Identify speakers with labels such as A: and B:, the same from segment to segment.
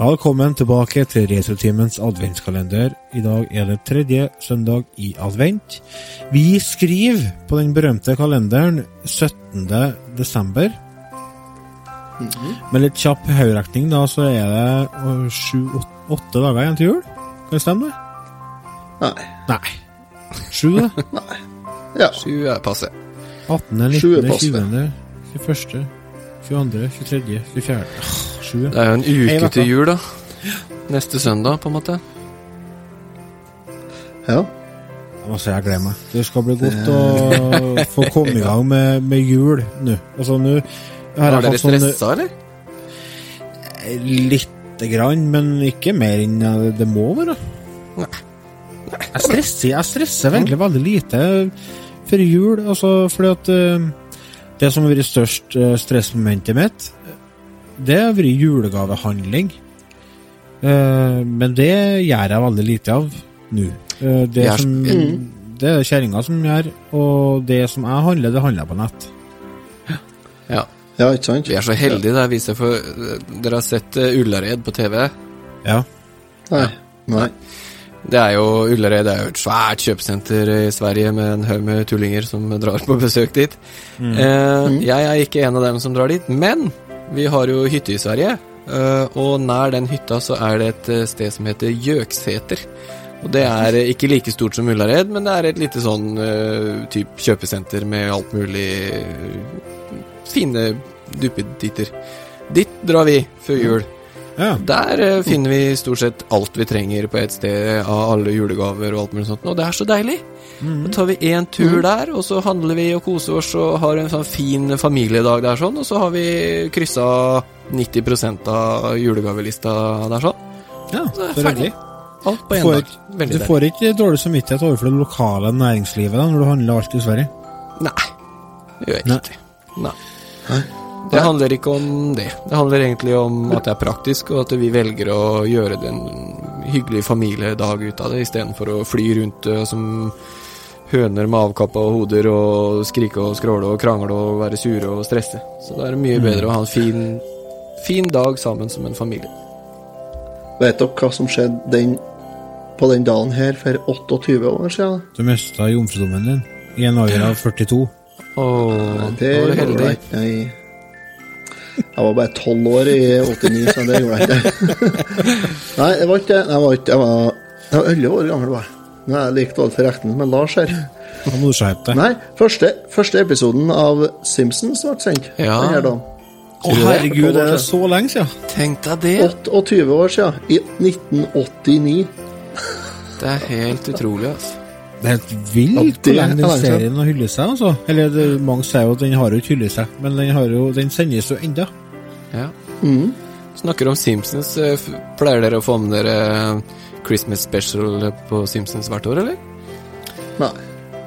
A: Velkommen tilbake til Retrotimens adventskalender. I dag er det tredje søndag i advent. Vi skriver på den berømte kalenderen 17. desember.
B: Mhm.
A: Med litt kjapp hoderekning, da, så er det øh, sju, åt- åtte dager igjen til jul. Kan det stemme? det?
B: Nei.
A: Nei. Sju, da.
B: Ja.
C: Sju er passe.
A: 18.,
B: Sju er
A: 19.,
B: passe.
A: 20., 21., 22., 23., 24. Åh, Sju.
C: Det er jo en
A: Ei
C: uke
A: uke.
C: til jul, da. Neste søndag, på en måte.
B: ja.
A: Altså, jeg gleder meg. Det skal bli godt å få komme i gang med, med jul nå. Altså, nå har jeg
C: Var dere
A: fått sånn
C: stressa, eller?
A: lite grann, men ikke mer enn jeg- det må være.
C: Nei.
A: Jeg stresser, jeg stresser veldig, veldig lite for jul, altså, fordi at eh, det som har vært størst eh, stressmomentet mitt, det har vært julegavehandling. Eh, men det gjør jeg veldig lite av nå. Eh, det,
C: Jeg er-
A: som, det er det kjerringa som gjør, og det som jeg handler, det handler jeg på nett.
C: Ja.
B: ja, ikke sant?
C: Vi er så heldige der, vi ser for Dere har sett eh, Ullared på TV.
A: Ja.
B: Nei. Nei.
C: Det er jo Ullared er jo et svært kjøpesenter i Sverige med en haug med tullinger som drar på besøk dit. Eh, jeg er ikke en av dem som drar dit, men vi har jo hytte i Sverige. eh, og nær den hytta så er det et eh, sted som heter Gjøkseter. Og det er eh, ikke like stort som Ullared, men det er et lite sånn eh, typ kjøpesenter med alt mulig eh, fine duppeditter. Dit drar vi før jul.
A: ja.
C: Der eh, finner vi stort sett alt vi trenger på ett sted av alle julegaver og alt mulig sånt. Og det er så deilig!
A: Mhm.
C: Da tar vi en tur der, og så handler vi og koser oss og har en sånn fin familiedag der sånn, og så har vi kryssa 90 av julegavelista der sånn.
A: ja.
C: Så er det
A: Så
C: ferdig.
A: hyggelig.
C: Alt på
A: Du
C: én
A: får,
C: dag.
A: ikke,
C: Veldig
A: du
C: deilig.
A: får ikke dårlig samvittighet overfor det lokale næringslivet da, når du handler alt i Sverige.
C: Nei, det gjør jeg
A: Nei.
C: ikke. Nei. Det handler ikke om det. Det handler egentlig om at det er praktisk, og at vi velger å gjøre det en hyggelig familiedag ut av det, istedenfor å fly rundt eh, som høner med avkappa hoder og skrike og skråle og krangle og være sure og stresse. Så da er det mye bedre å ha en fin, fin dag sammen som en familie.
B: Vet dere hva som skjedde den, på den dagen her for 28 år siden?
A: Du mista jomfrudommen din i en alder av 42.
C: Åh,
B: Det
C: var du
B: gjorde
C: heldig.
B: jeg ikke. Nei. Jeg var bare 12 år i 89, så det gjorde jeg ikke. Nei, jeg var ikke det. Jeg var ikke Jeg var, jeg var 11 år gammel, var jeg. Nå er jeg like dårlig for rektene med Lars her.
A: Da må du skjerpe deg.
B: Nei, første, første episoden av Simpsons ble sendt.
C: Ja.
B: Den her dagen.
A: Å herregud, det er så lenge siden!
C: Tenk deg det!
B: 28 år siden. I 1989.
C: Det er helt utrolig, altså.
A: Det er helt vilt hvor
B: det er
A: lenge den
B: lenge siden.
A: serien har hyllet seg, altså. Eller det, mange sier jo at den har jo ikke hyllet seg, men den, har jo, den sendes jo enda.
C: Ja.
B: Mm.
C: Snakker om Simpsons. eh, f- Pleier dere å få med dere eh, Christmas special på Simpsons hvert år, eller?
B: Nei.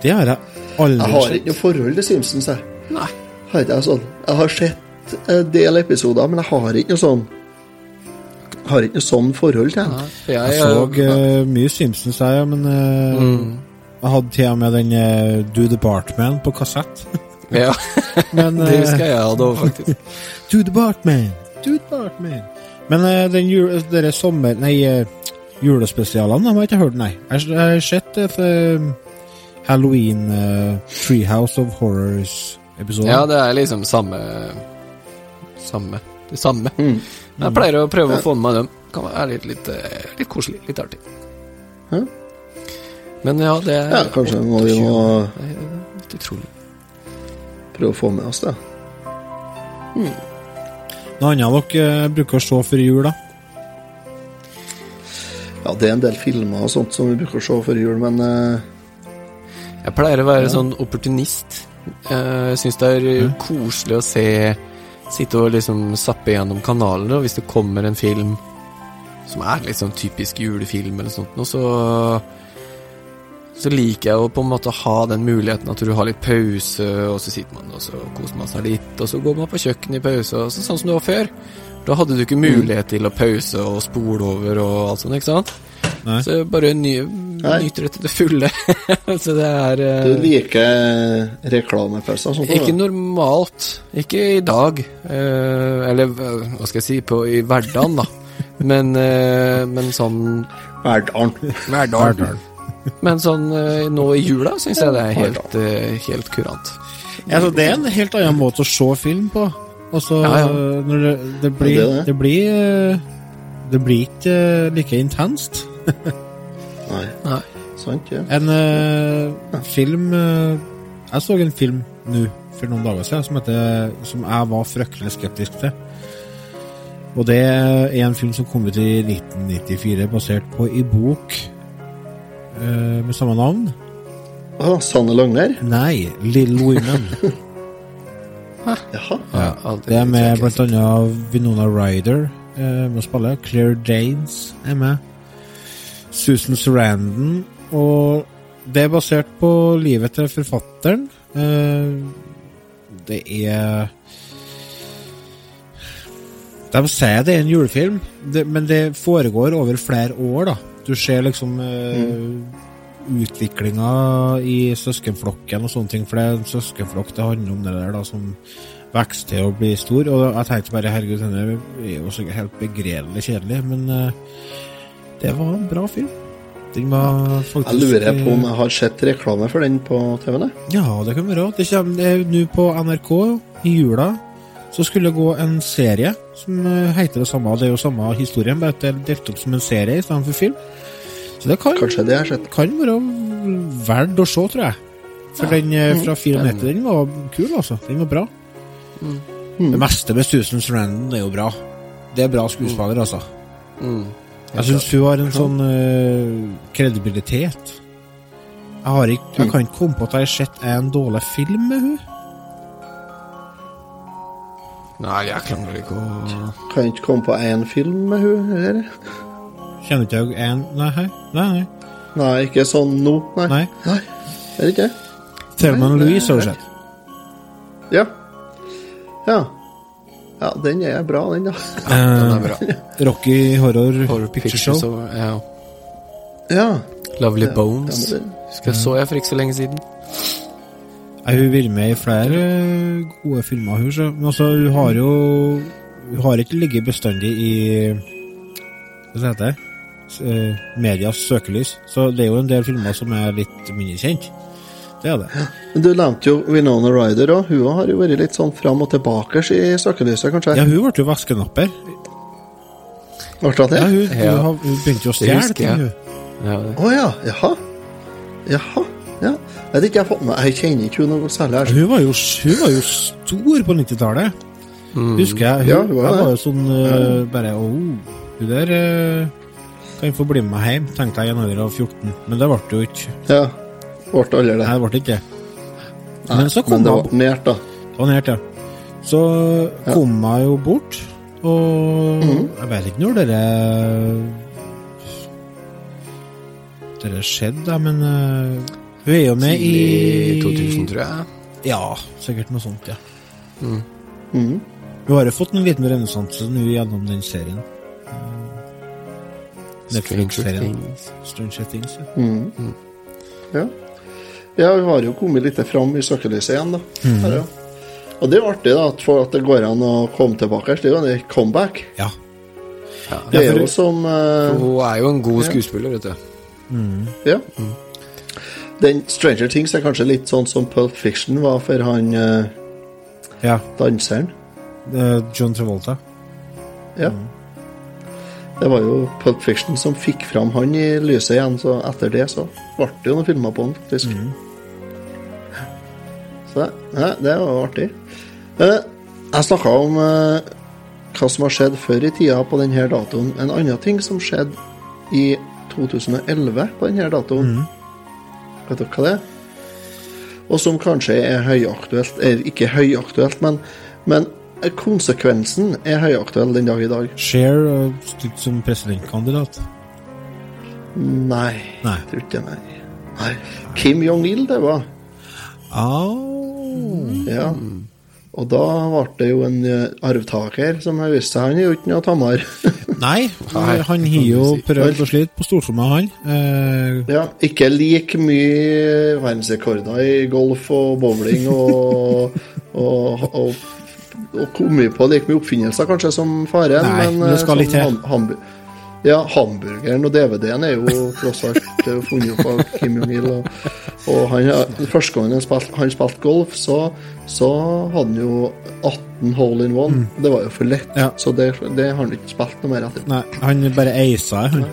A: Det har jeg
B: Jeg
A: aldri
B: har ikke
A: sett.
B: noe forhold til Simpsons, jeg.
C: Nei.
B: Har ikke jeg sånn. Jeg har sett en del episoder, men jeg har ikke noe sånn Har ikke noe sånn forhold til den.
C: For jeg,
A: Jeg så eh, mye Simpsons, jeg, ja, men eh, jeg hadde til og med den eh, Do the Bartman på kassett.
C: eh, Ja,
A: Men
C: det
A: eh,
C: husker jeg jeg hadde òg, faktisk.
A: To the Bartman! To the Bartman! Men eh, den jul, dere sommer... Nei, eh, julespesialene de har jeg ikke hørt, nei. Jeg har- Jeg har sett det eh, Halloween eh, Treehouse of Horrors-episoden.
C: Ja, det er liksom samme Samme. Det samme.
B: Mm.
C: Jeg pleier å prøve å få med meg dem. Kan være litt, litt, eh, litt koselig. Litt artig.
B: Hæ?
C: Men ja, det er
B: Ja, kanskje må vi må
C: Det er Helt utrolig.
B: prøve å få med oss det.
A: Noe annet dere eh, bruker å se før jul, da?
B: Ja, det er en del filmer og sånt som vi bruker å se før jul, men eh,
C: Jeg pleier å være sånn opportunist. Jeg syns det er koselig å se Sitte og liksom zappe gjennom kanaler, og hvis det kommer en film som er litt sånn typisk julefilm eller sånt, noe, så så liker jeg å på en måte ha den muligheten at du har litt pause, og så sitter man og så koser man seg litt, og så går man på kjøkkenet i pause, og så, sånn som det var før. Da hadde du ikke mulighet til å pause og spole over og alt sånt, ikke sant?
A: Nei.
C: Så bare ny, nyter det til det fulle. så det er sånn eh,
B: du liker reklamepauser og sånt?
C: ikke
B: da?
C: normalt. Ikke i dag. Eh, eller eh, hva skal jeg si, på, i hverdagen, da. Men, eh, men sånn
B: Verdalen.
A: Verdal.
C: Men sånn eh, nå i jula syns jeg det er helt, eh, helt kurant.
A: Altså, det er en helt annen måte å se film på. Altså,
C: Ja, ja.
A: Når det, det blir
B: Ja,
A: det,
B: det er det.
A: blir eh, Det blir ikke eh, like intenst.
B: Nei,
C: Nei.
B: sant det.
A: En eh, film eh, Jeg så en film nå for noen dager siden som, heter, som jeg var fryktelig skeptisk til. Og det er en film som kom ut i 1994, basert på en bok eh, med samme navn.
B: Å, Sanne Lagner?
A: Nei, Little Women.
B: Jaha.
A: Ja,
C: aldri
A: det er med
C: tenkt.
A: blant annet Vinona Ryder eh, med å spille. Claire Danes er med. Susan Sarandon. Og det er basert på livet til forfatteren. Eh, det er De sier det er en julefilm, det, men det foregår over flere år, da. Du ser liksom eh,
B: Mm.
A: utviklinga i søskenflokken og sånne ting, for det er en søskenflokk det handler om det der, da, som vokser til å bli stor. Og jeg tenkte bare herregud, denne er jo sikkert helt begredelig kjedelig, men eh, det var en bra film. Den var faktisk eh,
B: Jeg lurer på om jeg har sett reklame for den på TV-en. jeg.
A: ja, det kan være. Det kommer eh, nå på NRK i jula. Så skulle det gå en serie som eh, heter det samme. Det er jo samme historien, bare at det er delt opp som en serie istedenfor film. Så det kan,
B: Kanskje det jeg har sett.
A: kan være verdt å se, tror jeg. For den eh, fra 94, den var kul, altså. Den var bra. Mm. Det meste med Susan Sarandon er jo bra. Det er bra skuespiller, altså.
C: Mm.
A: Jeg syns hun har en sånn eh, kredibilitet. Jeg, har ikke, jeg kan ikke komme på at jeg har sett en dårlig film med hun
C: Nei, jeg klarer ikke å
B: Kan jeg ikke komme på én film med hun her.
A: Kjenner ikke jeg en Nei, hei. nei, nei.
B: Nei, ikke sånn nå. Nei.
A: nei.
B: Nei. Er det ikke det?
A: Thelma
B: Nei,
A: og
B: det-
A: Louise har du sett.
B: Ja. Ja. Ja, den er bra, den, da.
C: Den er
A: Eh,
C: bra.
A: Rocky Horror, Picture Show.
C: Show. Ja.
B: Ja.
C: Lovely
B: Ja,
C: Bones.
B: den er-
C: Husker jeg så jeg for ikke så lenge siden.
A: Nei, hun vil med i flere eh, gode filmer, hun. Så. Men altså, hun har jo Hun har ikke ligget bestandig i Hva heter det? S- eh, Medias søkelys. Så det er jo en del filmer som er litt mindre kjent. Det er det.
B: Men Du nevnte jo Winona Ryder òg. Hun har jo vært litt sånn fram og tilbake i søkelyset, kanskje.
A: Ja, hun ble jo vaskenapper.
B: Ble det
A: Ja,
B: det?
A: hun,
C: Ja.
A: hun har- hun begynte jo å
C: Det
A: stjele
C: husker jeg.
A: ting, hun.
C: Ja, det.
B: Å ja. Jaha. Jaha. Ja. Jeg vet ikke, jeg har fått med Jeg kjenner ikke hun noe særlig. her.
A: Altså, Hun var jo, hun var jo stor på 90-tallet.
C: Mm.
A: Husker jeg. Hun,
B: Ja, hun var
A: jeg
B: det.
A: var jo sånn eh, bare Å, hun der eh, kan få bli med meg hjem, tenkte jeg i en alder av 14. Men det ble det jo ikke.
B: Ja. Ble det aldri det?
A: Nei, det ble ikke det. Men så
B: Men
A: kom
B: det
A: hun
B: var nært, da.
A: Det var nært, ja. Så kom jeg jo bort, og jeg vet ikke når dere Dere skjedde, da, men eh, hun er jo med
C: I
A: i
C: 2000, tror jeg.
A: Ja, sikkert noe sånt, ja.
B: Mhm.
A: Hun har jo fått en liten renessanse nå gjennom den serien.
C: Stranger
A: Netflix-serien.
C: Things.
A: Stranger Things. ja.
B: Mhm. Ja. ja, vi har jo kommet litt fram i søkelyset igjen, da.
A: Mhm.
B: Her, ja. Og det er jo artig, da, at- for at det går an å komme tilbake. Det er jo en comeback.
A: Ja.
B: Det
A: Ja,
B: er
A: for-
B: jo som eh,
C: Hun er jo en god skuespiller, vet du.
B: Ja.
A: Mm.
B: Den Stranger Things er kanskje litt sånn som Pulp Fiction var for han eh,
A: ja.
B: danseren.
A: eh, John Travolta.
B: Ja. Det var jo Pulp Fiction som fikk fram han i lyset igjen, så etter det så ble det jo noen filmer på han, faktisk. Så det- ja, det var jo artig. Eh, Jeg snakka om eh, hva som har skjedd før i tida på denne datoen. En annen ting som skjedde i 2011 på denne datoen, vet dere hva det er? Og som kanskje er høyaktuelt. Er ikke høyaktuelt, men, men konsekvensen er høyaktuell den dag i dag.
A: Cher eh, stilte som presidentkandidat.
B: Nei,
A: Nei.
B: jeg tror ikke det, nei. nei. Kim Jong-il, det var.
A: Au.
B: Ja. Og da ble det jo en eh, arvtaker som har vist seg. Han er jo ikke noe tammere.
A: Nei,
C: Nei,
A: han har jo prøvd å slite på stortromma, han. Eh,
B: ja, ikke like mye verdensrekorder i golf og bowling og, og, og, og kommet på like mye oppfinnelser kanskje som faren,
A: Nei,
B: men
A: det
B: eh,
A: skal litt til.
B: ham- hambu- ja, hamburgeren og DVD-en er jo tross alt eh, funnet opp av Kim Jong-il. Og, og han, har- første gangen han spilte han spilte golf, så, så hadde han jo 18 hole in one. Det var jo for lett,
A: Mm. Ja.
B: så det, det har han ikke spilt noe mer etter.
A: Nei, han bare eisa, han.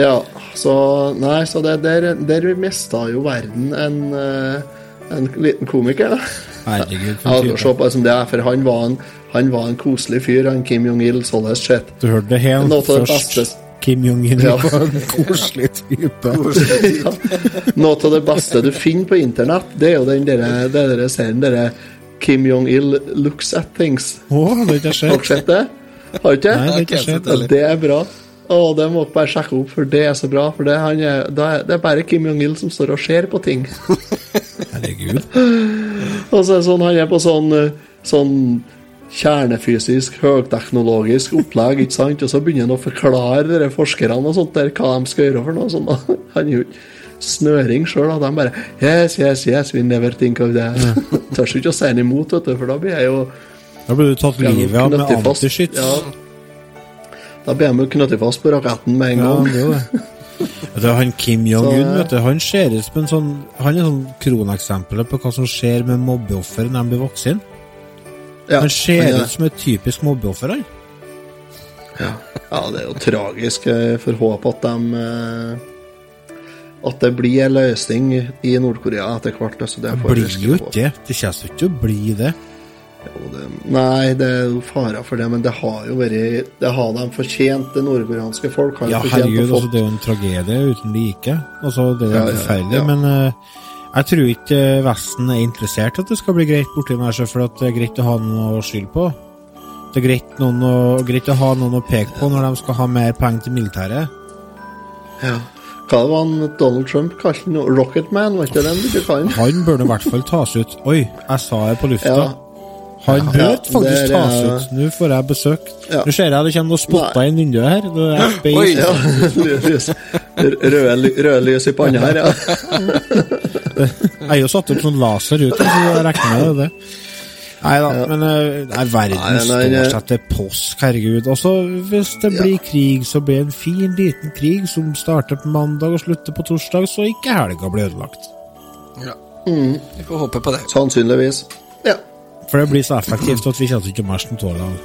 B: Ja, så Nei, så det, der, der mista jo verden en, eh, en liten komiker, da.
A: Herregud,
B: Ja,
A: for en
B: og
A: type.
B: se på det som det er, for han var en, han var en koselig fyr, han Kim Jong-il, således sett.
A: Du hørte det helt
B: Noe av det
A: først.
B: beste.
A: Kim Jong-un
B: Ja.
A: var en koselig type.
B: Ja. Noe av det beste du finner på internett, det er jo den dere, det dere serien dere Kim Jong-il looks at things.
A: Å, det har ikke jeg
B: Har dere
A: sett.
B: sett det? Har dere
A: Nei, det
B: ikke?
A: har ikke jeg sett.
B: Ja, det er bra. Å, det må dere bare sjekke opp, for det er så bra. For det, han er, da er- det er bare Kim Jong-il som står og ser på ting.
A: Herregud.
B: Og så er det sånn, han er på sånn, eh, sånn kjernefysisk, høyteknologisk opplegg, ikke sant? Og så begynner han å forklare dere forskerne og sånt der, hva de skal gjøre for noe. Sånn, da. han er jo ikke snøring sjøl, og de bare Yes, yes, yes, we never think of that. Tør ikke å si han imot, vet du, for da blir jeg jo
A: Da ble du tatt livet av med
B: knøttet fast.
A: antiskyts.
B: Ja. Da blir de jo knøttet fast på raketten med en
A: Ja,
B: gang.
A: det er jo det. Vet du, han Kim Jong-un vet du, han ser ut som en sånn Han er sånn kroneksempelet på hva som skjer med mobbeoffer når de blir voksne.
B: Ja,
A: Han ser
B: han er-
A: ut som et typisk mobbeoffer. han.
B: Ja, det er jo tragisk. Jeg får håpe at de eh, At det blir en løsning i Nord-Korea etter hvert. Altså, det får jeg
A: Blir
B: virkelig
A: jo
B: håpe.
A: ikke det. Det kommer jo ikke til å bli det.
B: Jo, det- Nei, det er jo fare for det, men det har jo vært Det har de fortjent, det nordkoreanske folk. Har
A: Ja,
B: fortjent
A: herregud,
B: å
A: altså,
B: få
A: det er jo en tragedie uten like. Altså, det er
B: Ja,
A: jo
B: ja,
A: forferdelig,
B: ja.
A: men eh, jeg tror ikke eh, Vesten er interessert i at det skal bli greit borti den her, så for at det er greit å ha noe å skylde på. Det er greit, noen å, greit å ha noen å peke på når de skal ha mer penger til militæret.
B: ja. Hva var han Donald Trump kalte han? Rocketman, var ikke det den du kalte han?
A: Han burde i hvert fall tas ut. Oi, jeg sa det på lufta.
B: Ja.
A: Han burde
B: Ja,
A: faktisk
B: der
A: tas
B: er- eh,
A: ut. Nå får jeg besøk.
B: Ja.
A: Nå ser jeg det kommer noe spotta inn vinduet her. Det er FBI.
C: Oi.
B: Ja, lys. Røde, ly- røde lys i panna her, ja.
A: Jeg har jo satt opp sånn laser ut, så jeg regner med det. det. Nei da, men eh, nei, verden
B: Nei, nei, nei.
A: står seg til påsk, herregud. Også hvis det
B: Ja.
A: blir krig, så blir det en fin, liten krig som starter på mandag og slutter på torsdag, så ikke helga blir ødelagt.
C: Ja. Mm. Vi får håpe på det.
B: Sannsynligvis. Ja.
A: For det blir så effektivt at vi kommer ikke til å merke noe av det.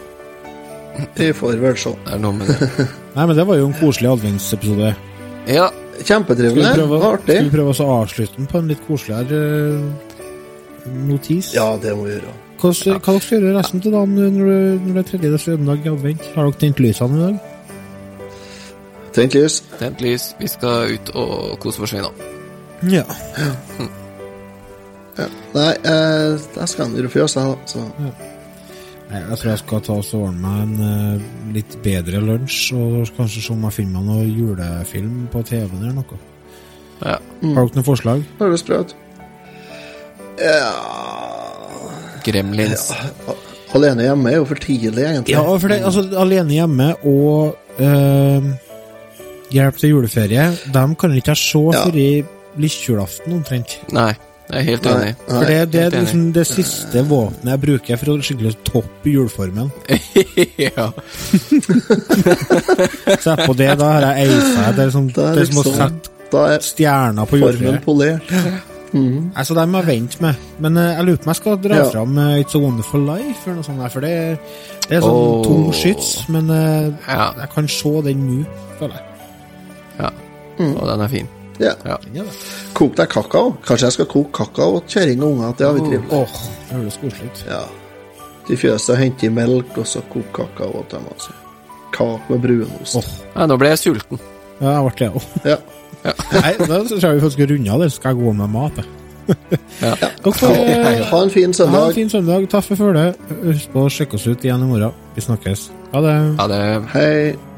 B: Vi får vel se.
C: Det er noe med det.
A: Nei, men det var jo en koselig adventsepisode.
C: Ja,
A: Skal vi
B: Kjempetrivelig.
A: prøve,
B: Artig.
A: skal vi prøve oss å avslutte den på en litt koseligere eh, notis?
B: Ja, det må vi gjøre.
A: Hva, hva dere skal dere gjøre resten til dagen når, du- når det er tredje søndag i advent? Har dere tent lysene i dag?
B: Tent lys.
C: tent lys. Vi skal ut og kose oss vi nå.
A: Ja.
B: Nei, eh, jeg skal ned og fjøse, jeg, da. Så.
A: Nei, jeg tror jeg skal ta oss og ordne meg en eh, litt bedre lunsj, og kanskje se om jeg finner meg noen julefilm på TV-en eller noe.
C: Ja.
A: Har
B: Mm.
A: dere noen forslag?
B: Har du lyst til å prøve? Ja
C: Gremlins.
B: Alene hjemme er jo for tidlig, egentlig.
A: Ja, for det, altså, Alene hjemme og eh, Hjelp til juleferie, dem kan ikke jeg se
B: Ja.
A: før i lillejulaften omtrent.
C: Nei, jeg er helt enig.
A: For det, det
C: helt
A: er
C: enig.
A: liksom det siste våpenet jeg bruker for å skikkelig toppe juleformen.
C: ja.
A: Se på det, da har jeg eisa. Det er, liksom, det
B: Da er
A: er som å
B: liksom-
A: sette
B: Da er
A: stjerna på
B: formen
A: juletreet.
B: polert.
A: Nei, Så dem må jeg vente med. Men eh, jeg lurer på om jeg skal dra
B: Ja.
A: fram eh, It's a Wonderful Life, eller noe sånt der, for det, det er sånn
C: Åh.
A: tung skyts. Men eh,
C: Ja.
A: jeg kan se den nå, føler jeg.
C: ja. Og den er fin.
B: Ja.
C: Ja.
A: Den er det.
B: Kok deg kakao. Kanskje jeg skal koke kakao og kjerring og unger. Det har vi trivelig.
A: Åh, det høres koselig ut.
B: Ja. Til fjøset hente i melk, og så koke kakao til dem. Altså. Kake med brunost.
A: Åh.
C: Nei, nå ble jeg sulten.
A: Ja, jeg ble det òg.
B: Ja.
A: Nei, da tror jeg vi faktisk skal runde av det, så skal jeg gå med mat. jeg.
C: Ja.
A: Dere får eh,
B: Ha en fin
A: ha en
B: søndag.
A: fin søndag. Takk for følget. Husk på å sjekke oss ut igjen i morgen. Vi snakkes. Ha det.
C: Ha det.
B: Hei.